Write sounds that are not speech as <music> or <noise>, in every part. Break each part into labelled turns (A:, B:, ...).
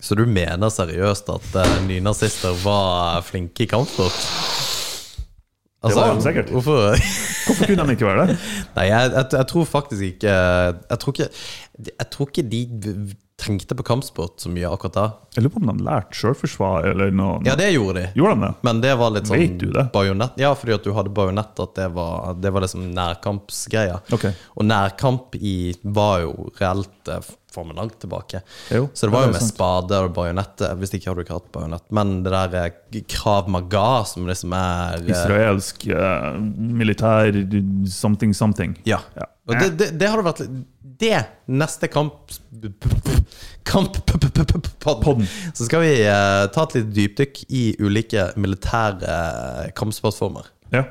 A: Så du mener seriøst at eh, nynazister var flinke i kampsport? Altså,
B: Det var de sikkert.
A: Hvorfor? <laughs>
B: Hvorfor kunne de ikke være det?
A: Nei, jeg, jeg, jeg tror faktisk ikke jeg tror ikke, jeg tror ikke de v- tenkte på kampsport så mye akkurat da.
B: Jeg lurer på om de lærte sjølforsvar eller noe.
A: Ja, det gjorde de.
B: Gjorde de det?
A: Men det var litt sånn
B: Vet du det?
A: bajonett. Ja, fordi at du hadde bajonett, at det var, det var liksom nærkampsgreia.
B: Ok.
A: Og nærkamp i var jo reelt eh, for meg langt tilbake.
B: Jo,
A: så det var jo
B: ja, det er
A: med
B: sant.
A: spade og bajonett. eh, Hvis ikke hadde du ikke hatt bajonett. Men det der eh, Krav Maga, som liksom er eh,
B: Israelsk eh, militær something something.
A: Ja.
B: Ja.
A: Og det, det, det hadde vært litt- Det neste kamp Kamp p- p- p- p- podden.
B: Podden.
A: Så skal vi eh, ta et lite dypdykk i ulike militære eh, kampsportformer.
B: Ja.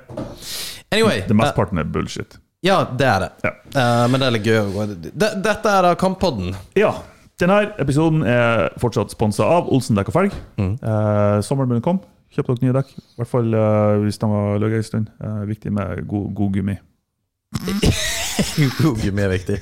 A: Anyway.
B: Det
A: eh,
B: mesteparten er bullshit.
A: Ja, det er det.
B: Ja.
A: Eh, men det er litt gøy. å gå- D- Dette er da Kamppodden. <laughs>
B: Ja. Denne episoden er fortsatt sponsa av Olsen dekk og felg.
A: Mm.
B: Eh, sommeren begynner å komme. Kjøp dere nye dekk. I hvert fall eh, hvis de har ligget en stund. Eh, viktig med god, god gummi.
A: Gummi er viktig.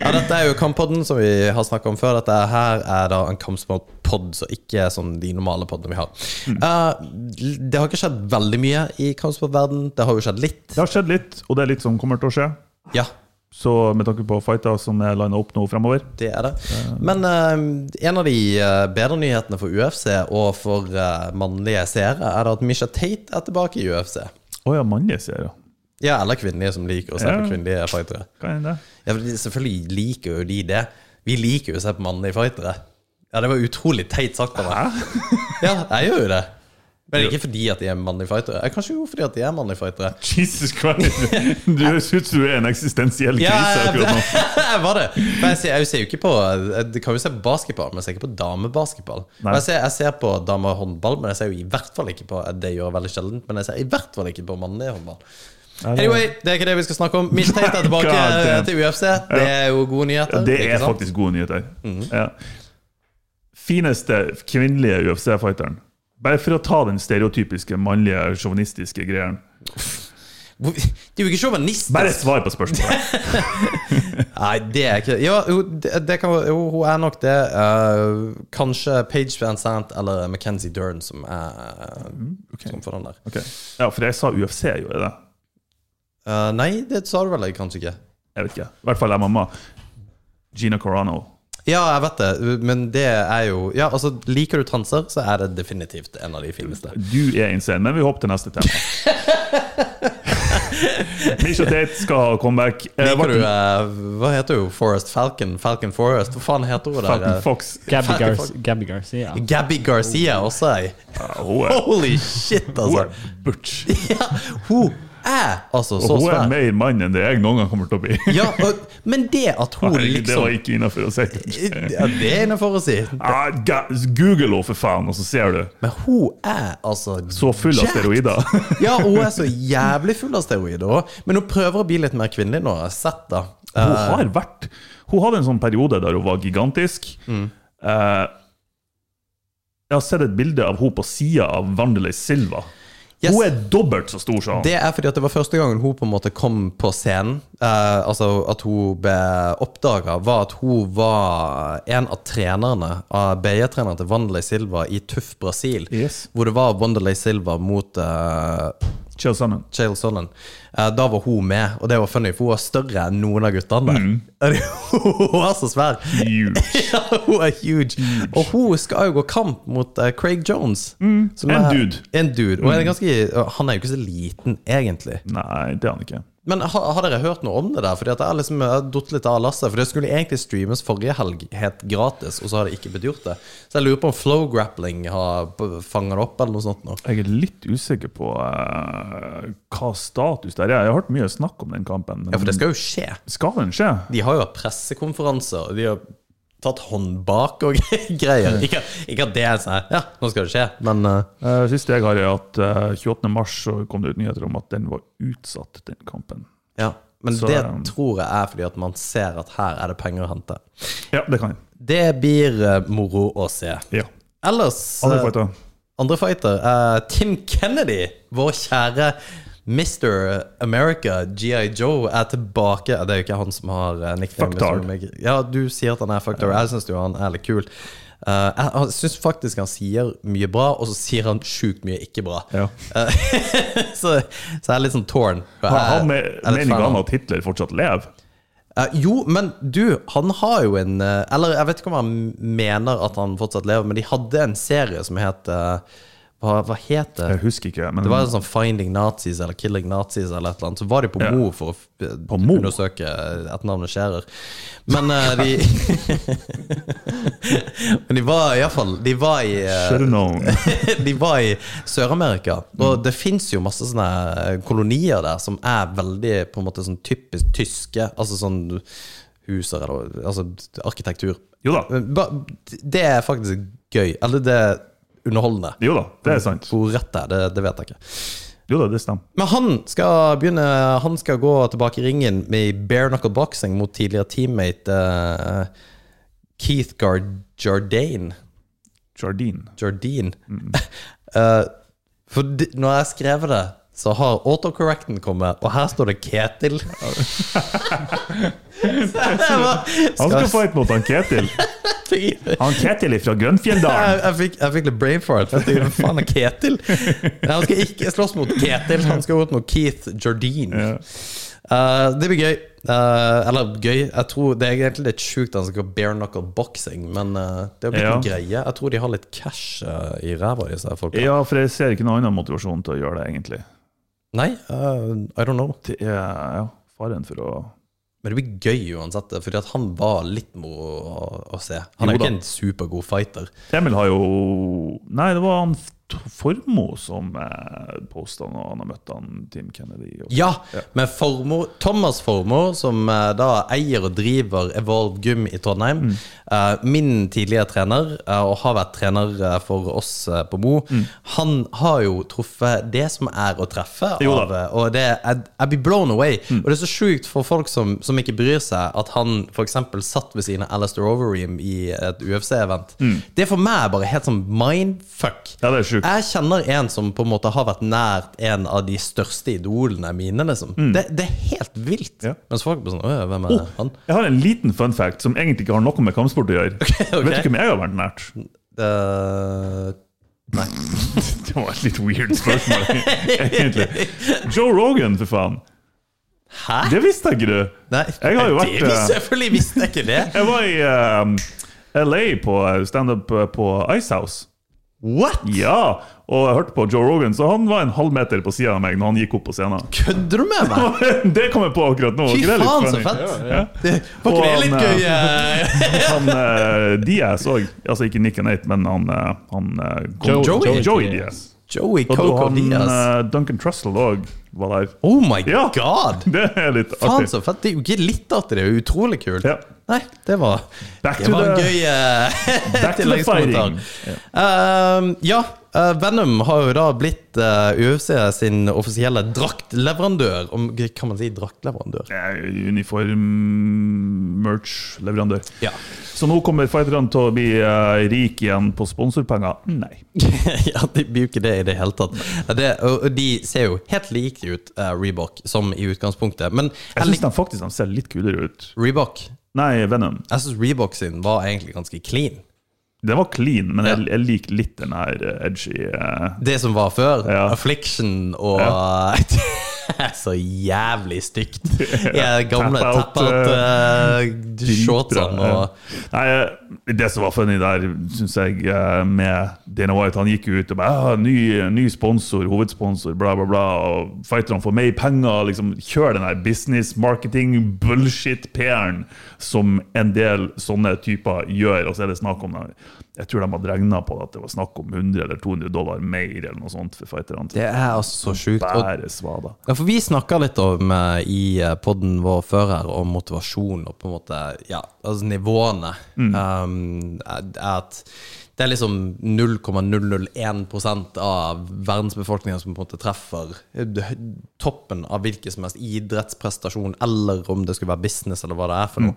A: Ja, dette er jo Kamppodden, som vi har snakka om før. Dette her er da en kampsportpod, så ikke sånn de normale poddene vi har.
B: Mm.
A: Eh, det har ikke skjedd veldig mye i kampsportverden Det har jo skjedd litt.
B: Det har skjedd litt, og det er litt som kommer til å skje.
A: Ja,
B: Så med tanke på fighter som er lina opp nå fremover
A: det er det. Men eh, en av de eh, bedre nyhetene for UFC og for eh, mannlige seere, er da at Misha Tate er tilbake i UFC.
B: Å ja, mannlige serier.
A: Ja, eller kvinnelige som liker å se på
B: Ja.
A: kvinnelige fightere.
B: Hva er det?
A: Ja, for de- Selvfølgelig liker jo de det. Vi liker jo å se på mannlige fightere. Ja, det var utrolig teit sagt av meg. <laughs> Ja, jeg gjør jo det. Men ikke fordi at de er mannlige fightere. Eh, Kanskje jo fordi at de er mannlige fightere. <laughs>
B: Jesus Christ! Du høres ut som du er en eksistensiell krise
A: Ja, jeg,
B: akkurat nå.
A: jeg var det. Men jeg ser, jeg ser jo ikke på Jeg kan jo se på basketball, men jeg ser ikke på damebasketball.
B: Nei.
A: Og Jeg ser, jeg ser på damehåndball, men jeg ser jo i hvert fall ikke på Det gjør jeg veldig sjeldent, men jeg ser i hvert fall ikke på mannlig håndball. Anyway, det er ikke det vi skal snakke om. Mish Tate er tilbake
B: <laughs>
A: eh,
B: God damn.
A: til UFC. Det er jo gode nyheter.
B: Det
A: ikke
B: er
A: sant? Mhm.
B: faktisk gode nyheter. ja. Fineste kvinnelige UFC-fighteren. Bare for å ta den stereotypiske mannlige sjåvinistiske greien.
A: Hvor- Det er jo ikke sjåvinistisk.
B: Bare svar på
A: <laughs>
B: spørsmålet.
A: Nei, det er ikke Ja, jo, det, det kan, jo hun er nok det. Eh, kanskje Page Van Sant eller Mackenzie Dern som er som får den der.
B: Mm, Ok. Ja, for jeg sa UFC, gjorde jeg det?
A: Eh, nei, det sa du vel kanskje ikke.
B: Jeg vet ikke. I hvert fall jeg mamma. Gina Carano.
A: Ja, jeg vet det, men det er jo Ja, altså, liker du transer, så er det definitivt en av de fineste.
B: Du er insane, men vi hopper til
A: <laughs>
B: neste tema. Misha Tate skal ha comeback. Eh,
A: Liker
B: var-
A: du eh, Hva heter hun? Forest Falcon? Falcon Forest? Hva faen heter hun der?
B: Falcon
A: eh?
B: Fox.
C: Gabby,
A: Fuck,
C: Gar
A: fuck.
C: Gabby Garcia.
A: Gabby Garcia også, ei.
B: Ja, hun er,
A: Holy shit,
B: hun
A: altså.
B: er butch.
A: Ja, hun er altså så
B: Og hun er
A: svær.
B: mer mann enn det jeg noen gang kommer til
A: <laughs>
B: å bli.
A: Ja, og, men det at hun
B: Herregud, Det
A: liksom
B: var ikke innafor å si.
A: Ja, det er innafor å si.
B: Ah, ga- Google henne, for faen, og så ser du.
A: Men hun er altså
B: Så full av
A: jacked.
B: steroider. <laughs>
A: Ja, hun er så jævlig full av steroider òg. Men hun prøver å bli litt mer kvinnelig nå. Jeg har sett Eh, det.
B: Hun har vært Hun hadde en sånn periode der hun var gigantisk.
A: Mm.
B: Eh, jeg har sett et bilde av hun på sida av Wanderlei Silva.
A: Yes.
B: Hun er dobbelt så stor som han.
A: Det er fordi at det var første gangen hun på en måte kom på scenen. Eh, altså At hun ble oppdaga, var at hun var en av trenerne av BJ-treneren til Wanderlei Silva i Tuff Brasil.
B: Yes.
A: Hvor det var Wanderlei Silva mot uh,
B: Chill sammen.
A: Chael Sonnen. Eh, da var hun med, og det var funny, for hun var større enn noen av guttene. <laughs> der. hun var så svær!
B: Mm. Huge.
A: <laughs> ja, hun er huge. Og hun skal jo gå kamp mot eh, Craig Jones. som
B: Mm. En
A: er-
B: dude. Mm.
A: En dude. Og en ganske, han er jo ikke så liten, egentlig.
B: Nei, det er han ikke.
A: Men har, har dere hørt noe om det der? Fordi at jeg liksom har datt litt av lasset. For det skulle egentlig streames forrige helg helt gratis, og så har det ikke blitt gjort det. Så jeg lurer på om Flow Grappling har fanga det opp, eller noe sånt. Nå.
B: Jeg er litt usikker på eh, hva status der er. Jeg har hørt mye snakk om den kampen.
A: Ja, for det skal jo skje.
B: Skal den skje?
A: De har jo hatt pressekonferanser, og de har tatt hånd bak og <laughs> greier. Ikke, ikke at det er sånn her, Ja, nå skal det skje, men eh,
B: Uh, siste jeg har, er at eh, 28. mars så kom det ut nyheter om at den var utsatt, den kampen.
A: Ja. Men
B: Så,
A: det
B: um,
A: tror jeg er fordi at man ser at her er det penger å hente.
B: Ja, det kan jeg.
A: Det blir eh, moro å se.
B: Ja.
A: Ellers
B: Andre
A: eh,
B: fighter.
A: Andre fighter. eh, Tim Kennedy, vår kjære Mr. America, GI Joe, er tilbake. Det er jo ikke han som har uh, nickname.
B: Fucktard.
A: Ja, du sier at han er fucktard. Jeg syns jo han er litt kul. Eh, jeg jeg syns faktisk han sier mye bra, og så sier han sjukt mye ikke bra.
B: Ja.
A: Eh, <laughs> så, så jeg er litt sånn torn. for
B: Har
A: jeg-
B: han
A: jeg er litt fan av
B: meninga
A: han.
B: om at Hitler fortsatt lever?
A: Eh, jo, men du, han har jo en eh, Eller jeg vet ikke om han mener at han fortsatt lever, men de hadde en serie som het eh, hva, hva het det?
B: Jeg husker ikke, men
A: Det var en sånn Finding Nazis eller Killing Nazis eller et eller annet. Så var de på
B: Mm. Ja.
A: Mo for å eh,
B: Mo?
A: undersøke eh, etternavnet Scherer. Men eh, de <laughs> Men de var iallfall De var i eh,
B: Should have
A: <laughs>
B: known.
A: de var i Sør-Amerika, og
B: Mm.
A: det fins jo masse sånne eh, kolonier der som er veldig på en måte sånn typisk tyske. Altså sånn huser eller altså, arkitektur.
B: <laughs> Jo da,
A: Ba- Det er faktisk gøy. Eller det er underholdende.
B: jo da, det er sant.
A: Hvor rett det er, det, det vet jeg ikke.
B: eh, Jo da, det stemmer.
A: Men han skal begynne Han skal gå tilbake i ringen med bare knuckle boxing mot tidligere teammate eh, Keith Gard Jardine.
B: Jardine.
A: Jardine.
B: Mm.
A: <laughs> Eh, for de, når jeg har skrevet det, så har autocorrecten kommet, og her står det Ketil. <laughs>
B: Han skal fighte mot han Ketil.
A: jeg,
B: Han Ketil ifra
A: <laughs>
B: Gunfjelldalen.
A: jeg, fikk, jeg fikk litt brain fart. For jeg tenkte, Hva faen er Ketil? Nei, Han skal ikke slåss mot Ketil, han skal ut mot Keith Jardine.
B: Ja.
A: Eh, det blir gøy. Eh, eller gøy Jeg tror Det er egentlig litt sjukt at han skal bare knuckle boxing, men eh, det har blitt
B: Ja.
A: en greie. Jeg tror de har litt cash eh, i ræva, disse folka.
B: Ja, for jeg ser ikke noen annen motivasjon til å gjøre det, egentlig.
A: Nei, eh, I don't know.
B: Det er ja, faren for å
A: Men det blir gøy uansett, fordi at han var litt moro å, å se. Han er
B: Jo da.
A: ikke en supergod fighter.
B: Emil har jo Nei, det var han T- Formoe som eh, posta når han har møtt han Tim Kennedy. Og,
A: Ja, men Formo, Thomas Formo, som eh, da eier og driver Evolve Gym i Trondheim,
B: Mm.
A: eh, min tidligere trener, eh, og har vært trener eh, for oss eh, på Mo,
B: Mm.
A: han har jo truffet det som er å treffe.
B: Jo da. Mm.
A: Av, eh, og det, jeg, jeg blir blown away. Og det er så sjukt for folk som, som ikke bryr seg, at han f.eks. satt ved siden av Alistair Overeem i et UFC-event.
B: Mm.
A: Det for meg er bare helt sånn mindfuck.
B: Ja, det er sjukt.
A: Jeg kjenner en som på en måte har vært nært en av de største idolene mine. liksom det, det er helt vilt.
B: Mm. Ja. Oh!»
A: Mens folk blir sånn «Åh, Hvem er han?
B: Jeg har en liten fun fact som egentlig ikke har noe med kampsport å gjøre.
A: ok.
B: Vet du hvem jeg har vært nært?
A: Eh, nei.
B: <laughs> Det var et litt weird spørsmål, egentlig. Joe Rogan, for faen.
A: Hæ?
B: Det visste ikke du!
A: nei.
B: Jeg har jo vært,
A: det,
B: eh,
A: Selvfølgelig visste jeg ikke det.
B: Jeg var i eh, LA på standup eh, på Icehouse.
A: What?
B: Ja, og jeg hørte på Joe Rogan, så han var en halv meter på sida av meg når han gikk opp på scenen.
A: Kødder du med
B: <laughs>
A: meg?
B: Det kom jeg på akkurat nå.
A: Fy
B: ikke det er litt
A: faen, så
B: funny?
A: fett!
B: Ja.
A: Det, var ikke det
B: Og
A: litt
B: han,
A: gøy? eh,
B: Han eh, Diaz òg. Altså ikke Nick and Eight, men han, eh, han eh, kom-
A: Joey.
B: Joey,
C: Joey
B: Diaz.
A: Joey
B: Og
A: Coco
B: han
A: Diaz.
B: eh, Duncan Trussell òg var der. <laughs>
A: Oh my
B: Ja.
A: god!
B: Det er litt
A: Faen,
B: artig.
A: så fett. Det er jo ikke litt artig, det er jo utrolig kult.
B: Ja.
A: Nei, det var
B: Back
A: Det
B: to
A: var en
B: the-
A: gøy eh, <laughs>
B: Back to the
A: tilleggskommentar.
B: fighting.
A: Ehm, ja, eh, Venom har jo da blitt eh, UFC sin offisielle draktleverandør. Om, kan man si draktleverandør?
B: Eh, Uniform, merch, leverandør.
A: Ja.
B: Så nå kommer fighterne til å bli eh, rik igjen på sponsorpenger? Nei.
A: <laughs> ja, de blir jo ikke det i det hele tatt. Det, og og de ser jo helt like ut, eh, Reebok, som i utgangspunktet. Men
B: Jeg
A: jeg
B: syns
A: lik-
B: de faktisk de ser litt kulere ut.
A: Reebok
B: Nei, Venom.
A: Jeg syns Reebok sin var egentlig ganske clean.
B: Den var clean, men
A: Ja.
B: jeg, jeg liker litt den her eh, edgy eh,
A: Det som var før,
B: Ja.
A: Affliction og <laughs> Så jævlig
B: <laughs>
A: stygt. De gamle
B: Tap out,
A: tap-out-shortsene.
B: dritbra, ja.
A: og
B: Nei, eh, det som var funny der, syns jeg, eh, med Dana White Han gikk jo ut og bare «Ah, ny, ny sponsor, hovedsponsor, bla, bla, bla. Og fighterne får mer penger. liksom Kjør den der business, marketing, bullshit-PR-en som en del sånne typer gjør. Og så er det snakk om Jeg tror de hadde regna på at det var snakk om 100 eller 200 dollar mer eller noe sånt for fighterne.
A: Det er altså så sjukt. Og,
B: Bare svada.
A: ja, for vi snakka litt om eh, i eh, podden vår før her, om motivasjon og på en måte Ja, altså nivåene. Um, er- er at det er liksom 0,001 av verdensbefolkningen som på en måte treffer eh, toppen av hvilken som helst idrettsprestasjon, eller om det skulle være business, eller hva det er for noe.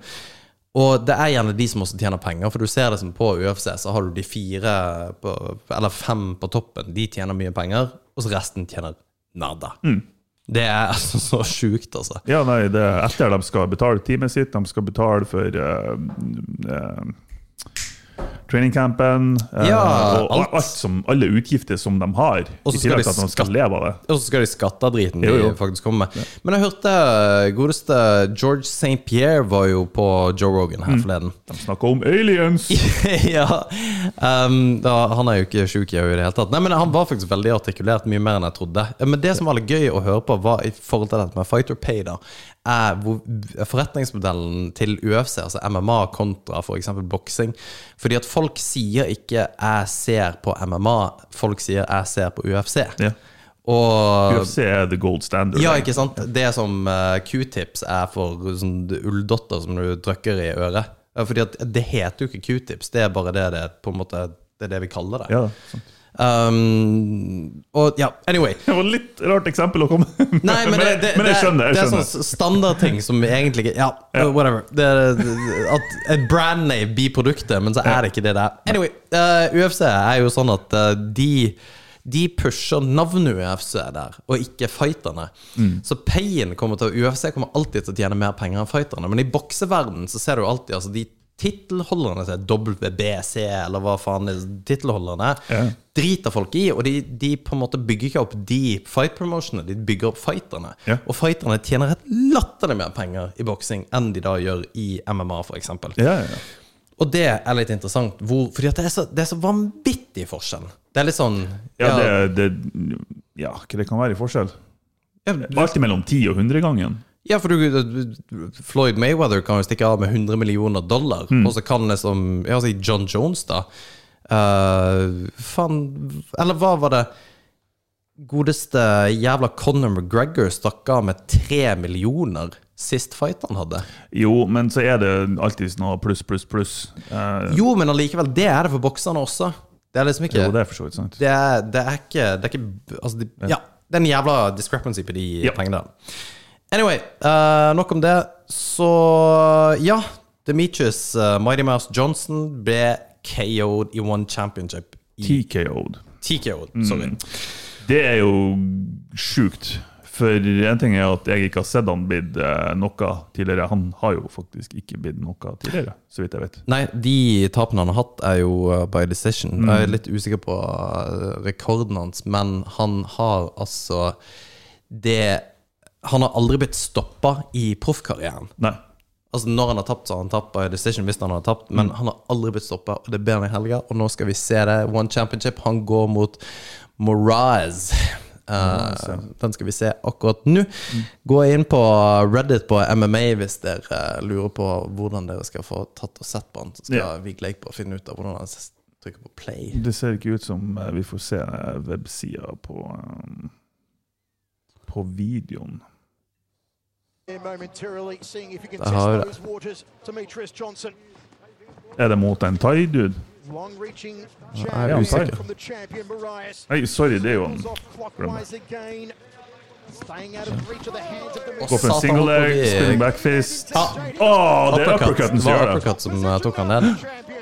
A: Og det er gjerne de som også tjener penger, for du ser det som på UFC, så har du de fire, på, eller fem på toppen, de tjener mye penger, og så resten tjener nada. Det er <laughs> altså så sjukt, altså.
B: Ja, nei, det er etter de skal betale teamet sitt, de skal betale for eh, eh, trainingcampen eh,
A: Ja,
B: og
A: alt.
B: alt. som, alle utgifter som de har.
A: Og så skal
B: I
A: de
B: tillegg til at
A: skatte-
B: de skal leve av det.
A: Og så skal de skatte av driten
B: Jo, jo.
A: de faktisk kommer med. Men jeg hørte eh, godeste George St. Pierre var jo på Joe Rogan
B: Mm.
A: her forleden.
B: De snakker om aliens!
A: <laughs> ja. ehm, da, han er jo ikke sjuk i øyet i det hele tatt. Nei, men Han var faktisk veldig artikulert, mye mer enn jeg trodde. Men det som var litt gøy å høre på, var i forhold til dette med fighter pay, da, er hvor forretningsmodellen til UFC, altså MMA kontra f.eks. boksing. Fordi at folk sier ikke 'jeg ser på MMA', folk sier 'jeg ser på UFC'.
B: Ja.
A: Og
B: UFC er the gold standard.
A: ja, ikke sant? Det som eh, Q-tips er for sånn ulldotter som du trykker i øret. Ja, Fordi at det heter jo ikke Q-tips, det er bare det det på en måte Det er det vi kaller det.
B: Ja, sant.
A: Um, og ja, anyway.
B: Det var litt rart eksempel å komme med,
A: Nei, men det, det,
B: <laughs> men jeg skjønner.
A: det
B: Jeg
A: er sånn
B: skjønner.
A: s- standardting som egentlig ikke Ja, whatever. Det, det- at et brandname blir produktet, men så er det ikke det det er. Anyway, eh, UFC er jo sånn at eh, de de pusher navnet UFC der, og ikke fighterne.
B: Mm.
A: Så payen kommer til å UFC kommer alltid til å tjene mer penger enn fighterne. Men i bokseverdenen så ser du alltid altså, de tittelholderne til WBC, eller hva faen det- tittelholderne er,
B: Ja.
A: driter folk i. Og de, de på en måte bygger ikke opp de fight promotionene, de bygger opp fighterne.
B: Ja.
A: Og fighterne tjener helt latterlig mer penger i boksing enn de da gjør i MMA, f.eks.
B: Ja, ja, ja.
A: Og det er litt interessant, hvor, fordi at det, er så, det er så vanvittig forskjell. Det er litt sånn
B: ja, det, det, ja, hva det kan være i forskjell?
A: ja,
B: Alltid mellom 10 og 100 gangen.
A: Ja, for du, Floyd Mayweather kan jo stikke av med 100 millioner dollar, og så kan liksom Ja, si John Jones, da. Eh, Faen Eller hva var det godeste jævla Conor McGregor stakk av med 3 millioner sist fight han hadde?
B: Jo, men så er det alltid noe pluss, pluss, pluss. Eh,
A: Jo, men allikevel, det er det for bokserne også. Det er liksom ikke
B: jo, det er for så vidt sant.
A: Det er, det er ikke Det er ikke Altså, de, ja. Det er en jævla discrepancy på de
B: Ja.
A: pengene der. Anyway, eh, nok om det. Så ja. Demetrius eh, Mighty Mouse Johnson ble KO'd i One Championship. I
B: TKO'd.
A: TKO'd, sorry.
B: Det er jo sjukt. For en ting er at jeg ikke har sett han blitt eh, noe tidligere. Han har jo faktisk ikke blitt noe tidligere, så vidt jeg vet.
A: Nei, de tapene han har hatt, er jo eh, by decision. Jeg er litt usikker på eh, rekorden hans, men han har altså det Han har aldri blitt stoppa i proffkarrieren.
B: Nei.
A: Altså Når han har tapt, så har han tapt by decision. Hvis han har tapt Men
B: Mm.
A: han har aldri blitt stoppa, og det ber han i helga. Og nå skal vi se det. One Championship. Han går mot Moraz. Eh, den skal vi se akkurat nå.
B: Mm.
A: Gå inn på Reddit på MMA hvis dere eh, lurer på hvordan dere skal få tatt og sett på han. Så skal
B: Ja.
A: vi Vigleik på finne ut av hvordan han s- trykker på play.
B: Det ser ikke ut som eh, vi får se eh, websida på eh, På videoen.
C: momentarily, seeing if he can
A: Det
C: test
A: har-
C: those waters. Demetrius Johnson,
B: Er det mot en thai-dude?
C: long-reaching
A: er
C: jab
B: usikker.
C: from the champion Marias.
B: Nei, sorry, det er jo en
C: Goes off clockwise again, staying out of reach of the hands of
B: Gå for
C: Demetrius.
B: en
A: Satan,
B: single leg,
A: holdt på å bli-
B: spinning back fist.
A: Ja.
B: Å, det er
A: Uppercut.
B: uppercutten
A: Det
B: som
A: var
B: gjør det.
A: uppercut som eh, tok han ned.
C: Champion.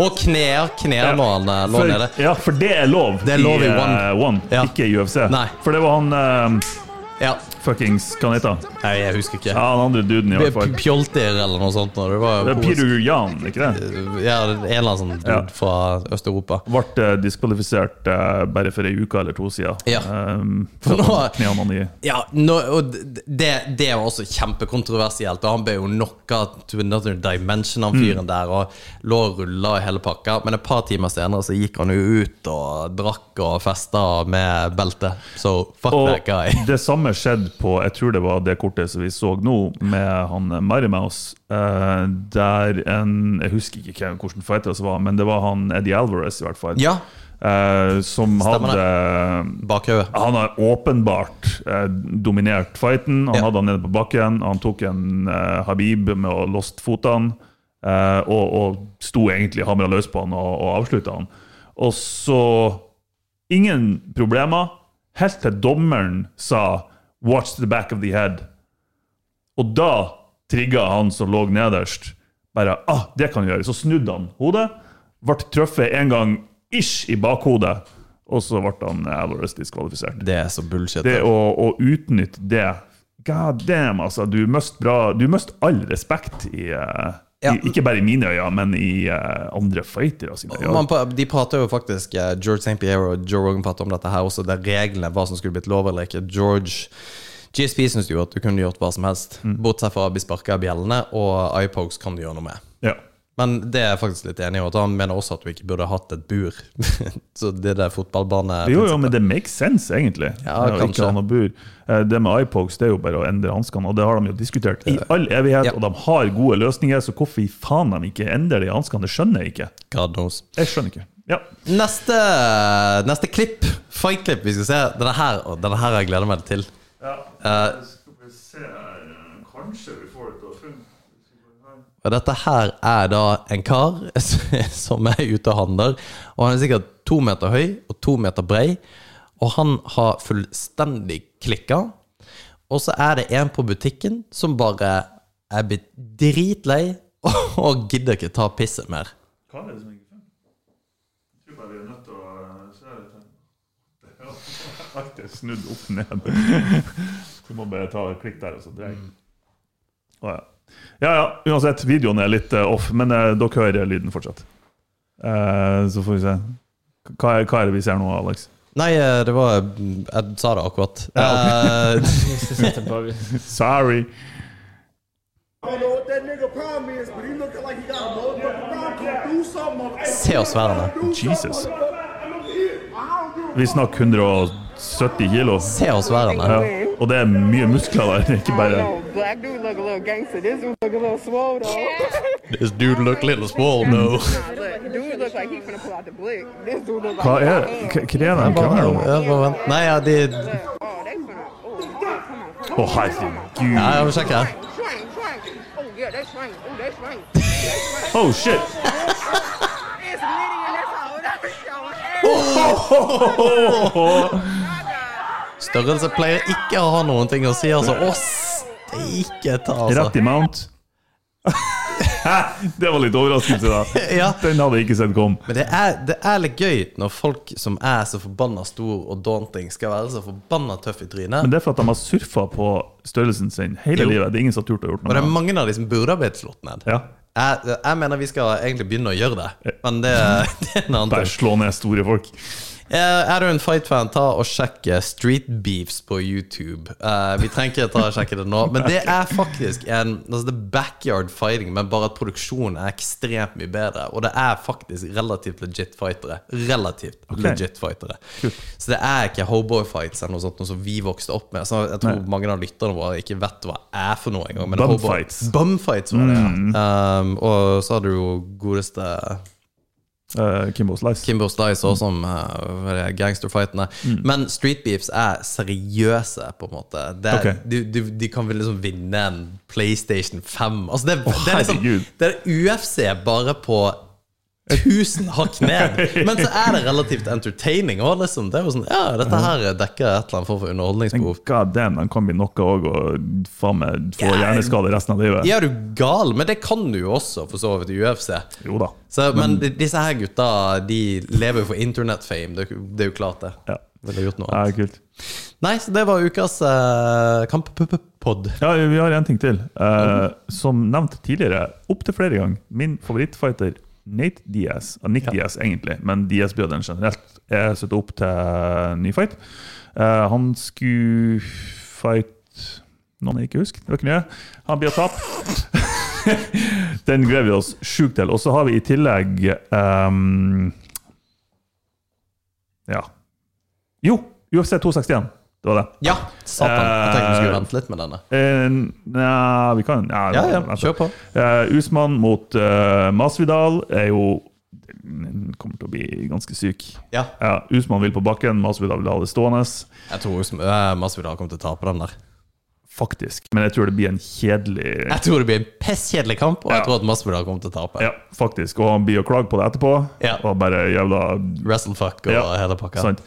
A: Og knær. Knær nå han eh, lå nede.
B: For, ja, for det er lov,
A: Det er lov i
B: eh,
A: One.
B: one.
A: Ja.
B: ikke i UFC.
A: Nei.
B: For det var han uh,
A: Ja.
B: fuckings Hva han heter han?
A: Nei, jeg husker ikke.
B: Ja, han andre duden, i hvert fall.
A: P- Pjolter eller noe sånt. når Det var
B: Det er Peter Jan, ikke det?
A: Ja, en eller annen sånn dude
B: Ja.
A: fra
B: <laughs>
A: Øst-Europa.
B: Ble diskvalifisert eh, bare for ei uke eller to siden.
A: Ja.
B: Um,
A: For nå-
B: knærne han i.
A: Ja, nå, og d- det, det var også kjempekontroversielt, og han ble jo knocka to another dimension, han
B: Mm.
A: fyren der, og lå og rulla i hele pakka. Men et par timer senere så gikk han jo ut og drakk og festa med belte. So fuck that
B: Og
A: guy. <laughs>
B: det samme skjedde på jeg tror det var det kortet som vi så nå, med han eh, Mary Mouse. eh, der en Jeg husker ikke hvem- hvordan fighter det var, men det var han Eddie Alvarez, i hvert fall.
A: Ja.
B: eh, som
A: Stemmer
B: hadde
A: Bakhauget.
B: Han har åpenbart eh, dominert fighten. Han
A: Ja.
B: hadde han nede på bakken. Han tok en eh, Habib med å loste fotene. eh, og, og sto egentlig hamra løs på han og, og avslutta han. Og så Ingen problemer. Helt til dommeren sa 'watch the back of the head'. Og da trigga han som lå nederst, bare ah, det kan du gjøre. Så snudde han hodet, ble truffet en gang ish i bakhodet, og så ble han eh, Alvarez diskvalifisert.
A: Det er så bullshit.
B: Det å, å utnytte det God damn, altså. Du mister all respekt i, eh,
A: Ja.
B: I, ikke bare i mine øyne, men i eh, andre fightere sine øyne.
A: Man, pra- de prater jo faktisk eh, George St. Pierre og Joe Rogan prater om dette her også, der reglene hva som skulle blitt lov eller ikke. George GSP syns jo at du kunne gjort hva som helst,
B: Mm.
A: bortsett fra å bli sparka av bjellene, og iPokes kan du gjøre noe med.
B: Ja.
A: Men det er jeg faktisk litt enig i. og at Han mener også at du ikke burde hatt et bur. <laughs> Så det der fotballbane
B: Jo, jo, men det makes sense, egentlig.
A: Ja,
B: Det å
A: kanskje.
B: ikke ha noe bur. Eh, Det med iPokes det er jo bare å endre hanskene, og det har de jo diskutert i all evighet.
A: Ja.
B: Og de har gode løsninger, så hvorfor i faen de ikke endrer de hanskene, det skjønner jeg ikke.
A: God knows.
B: Jeg skjønner ikke. Ja.
A: Neste, neste klipp, fight-klipp vi skal se, denne her, og denne her jeg gleder meg til. Eh,
B: eh, Kanskje vi får det til å funke.
A: og dette her er da en kar <laughs> som er ute og handler, og han er sikkert to meter høy og to meter brei, og han har fullstendig klikka. Og så er det en på butikken som bare er blitt dritlei <laughs> og- og gidder ikke ta pisset mer.
B: Hva er det som ikke funker? Jeg tror bare vi er nødt til å eh, se litt. her. <laughs> Alt er snudd opp ned. Du må bare ta et klikk der, og så dreier jeg. Å, ja. ja ja, uansett. Videoen er litt eh, off, men eh, dere hører lyden fortsatt. Eh, så får vi se. Hva er, hva er det vi ser nå, Alex?
A: Nei, eh, det var Jeg sa det akkurat. Eh,
B: Sorry.
D: I don't know what that nigga problem is, but he looking like he got a motherfucking problem. Do something, motherfucker.
A: Se oss være der.
D: Do something,
B: Jesus.
D: motherfucker. Look here. I don't give a
B: Vi snakker 170 kilo.
A: se oss være der.
B: Ja. Og det er mye muskler der, <laughs> ikke
A: uh,
B: bare
E: No, black dude look a little gangster. This dude look a little swole though.
A: This dude look little small, no.
E: Nah, look, dude look like he finna pull out the blick. This dude look like
A: Oh,
B: Hva er det? Hva hva er det? Hva er
A: Ja,
B: det?
A: bare vent. Nei, ja, de Nei,
E: Look,
B: Å,
E: oh, they finna. Oh, come on, come on.
A: Oh,
B: herregud.
A: jeg må sjekke her.
E: Swank, swank. Oh yeah, they swank. Oh, they
A: <laughs>
E: swank.
B: Oh shit!
E: It's Liddy and that's all. That's your ass.
A: Oh. Størrelse pleier ikke å ha noen ting å si, altså. Å, steike ta,
B: Rett i
A: altså.
B: mount. det var litt overraskelse, da.
A: Ja.
B: Den hadde jeg ikke sett kom.
A: Men det er, det er litt gøy når folk som er så forbanna stor og daunting, skal være så forbanna tøff i
B: Men
A: trynet.
B: det er for at de har surfa på størrelsen sin hele
A: Jo.
B: livet. Det er ingen som har turt å gjort
A: Og det
B: noe
A: er
B: med det.
A: mange av de som burde ha blitt slått ned.
B: Ja.
A: Jeg, jeg mener vi skal egentlig begynne å gjøre det, men det, det er <laughs> en annen ting.
B: Bare slå ned store folk.
A: Eh, Er du en fight-fan, ta og sjekk eh, Street Beefs på YouTube. Eh, vi trenger ikke ta og sjekke det nå, men det er faktisk en altså det er backyard fighting, men bare at produksjonen er ekstremt mye bedre. Og det er faktisk relativt legit fightere. Relativt legit fightere. Så det er ikke hoboy-fights eller noe sånt noe som vi vokste opp med. Så jeg tror mange av lytterne våre ikke vet hva er for noe engang. men
B: Bum
A: hobo-
B: fights. Mm.
A: Bum fights var det, ja. Um, og så hadde du jo godeste
B: Eh, Kimbo Slice.
A: Kimbo Slice også, som eh, hva er det, gangsterfightene.
B: Mm.
A: Men street beefs er seriøse, på en måte. Det er,
B: Ok.
A: du, du, de kan vel liksom vinne en PlayStation 5. Altså det, det, er
B: herregud.
A: liksom, det er UFC bare på Tusen hakk ned!
B: <laughs>
A: Men så er det relativt entertaining òg, liksom. Det er jo sånn, ja, dette her dekker et eller annet form for underholdningsbehov.
B: God damn, de kan bli knocka òg og faen meg få
A: Ja.
B: hjerneskade resten av livet.
A: Ja, er du gal? Men det kan du jo også, for så vidt, i UFC.
B: Jo da.
A: Så, men, de- disse her gutta, de lever jo for internettfame. Det, er jo- det er jo klart, det.
B: Ja.
A: Ville gjort noe
B: Ja,
A: annet.
B: kult.
A: Nei, så det var ukas uh, kamppod.
B: Ja, vi har en ting til. Eh, som nevnt tidligere, opptil flere ganger, min favorittfighter Nate Diaz, og Nick Diaz egentlig, men Diaz-brødrene generelt, er satt opp til ny fight. Eh, han skulle fight noen jeg ikke husker. Det var ikke mye. Han blir tapt. <laughs> Den gleder vi oss sjukt til. Og så har vi i tillegg ehm, Ja. Jo, UFC 261. Det var det.
A: Ja, satan. Jeg tenkte vi skulle vente litt med denne.
B: Eh, Nei, vi kan nei,
A: Ja, ja,
B: vent.
A: kjør på.
B: Eh, Usman mot eh, Masvidal er jo den kommer til å bli ganske syk.
A: Ja.
B: Usman vil på bakken, Masvidal vil ha det stående.
A: Jeg tror Osm- eh, Masvidal kommer til å tape den der.
B: Faktisk. Men jeg tror det blir en kjedelig
A: Jeg tror det blir en pisskjedelig kamp, og
B: Ja.
A: jeg tror at Masvidal kommer til å tape.
B: Ja, faktisk. Og han blir å klage på det etterpå.
A: Ja.
B: Og bare jævla
A: Wrestlefuck og
B: Ja,
A: hele pakka.
B: sant.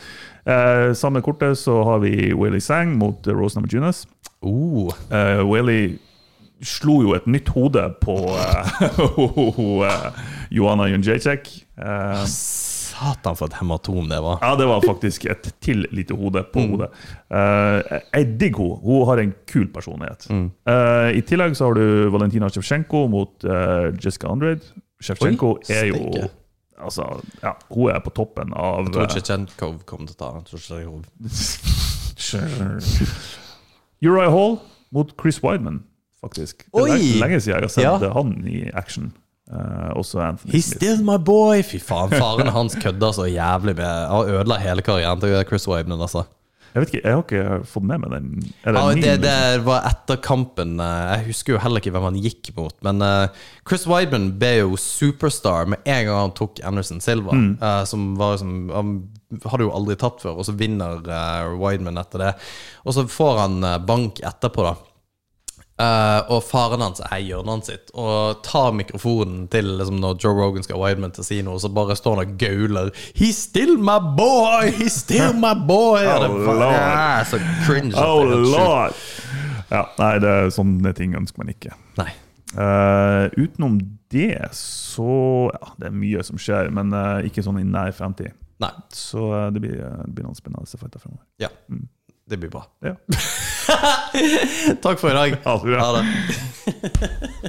B: Eh, samme kortet så har vi Willy Sang mot eh, Rose Namajunas.
A: Oh.
B: Eh, Willy slo jo et nytt hode <laughs> på eh, ho- ho- ho- eh, Joanna Junjajcek. Eh,
A: Satan, for et hematom det var.
B: Ja, det var faktisk et til lite hode på
A: Mm.
B: hodet. Eh, jeg digger henne. Hun har en kul personlighet.
A: Mm.
B: Eh, I tillegg så har du Valentina Shevchenko mot eh, Jessica Andrade. Shevchenko
A: Oi,
B: er jo
A: steike.
B: Altså, ja, hun er på toppen av
A: Jeg tror ikke Chenkov kom til å ta den. Jeg tror ikke det-
B: Uriah Hall mot Chris Wideman, faktisk. Det er
A: Oi!
B: lenge- lenge siden jeg har sett
A: Ja.
B: eh, han i action. Eh, også Anthony
A: He's
B: Smith.
A: still my boy! Fy faen, faren hans kødda så jævlig med Han ødela hele karrieren til Chris Waibnen, altså.
B: Jeg vet ikke, jeg har ikke fått med meg den. Er
A: Ja,
B: en
A: det,
B: meme, liksom?
A: det var etter kampen. eh, Jeg husker jo heller ikke hvem han gikk mot. Men eh, Chris Weidman ble jo superstar med en gang han tok Anderson Silva. eh, Som var liksom Han hadde jo aldri tapt før, og så vinner eh, Weidman etter det. Og så får han eh, bank etterpå, da. Eh, og faren hans er i hjørnet sitt og tar mikrofonen til liksom, når Joe Rogan skal ha Wideman til å si noe, så bare står han og gauler 'He's still my boy! He's still my boy!' Og det
B: Oh,
A: var-
B: Lord.
A: Ja, så cringe. at
B: Oh
A: det er helt sjukt.
B: lord! Ja, nei, det er sånne ting ønsker man ikke.
A: Nei.
B: Eh, utenom det så Ja, det er mye som skjer, men eh, ikke sånn i nær fremtid.
A: Nei.
B: Så eh, det, blir, det blir noen spennende fighter fremover.
A: Ja.
B: Mm.
A: Det blir bra. <laughs>
B: Ja.
A: Takk for i dag.
B: Ha det bra.
A: det.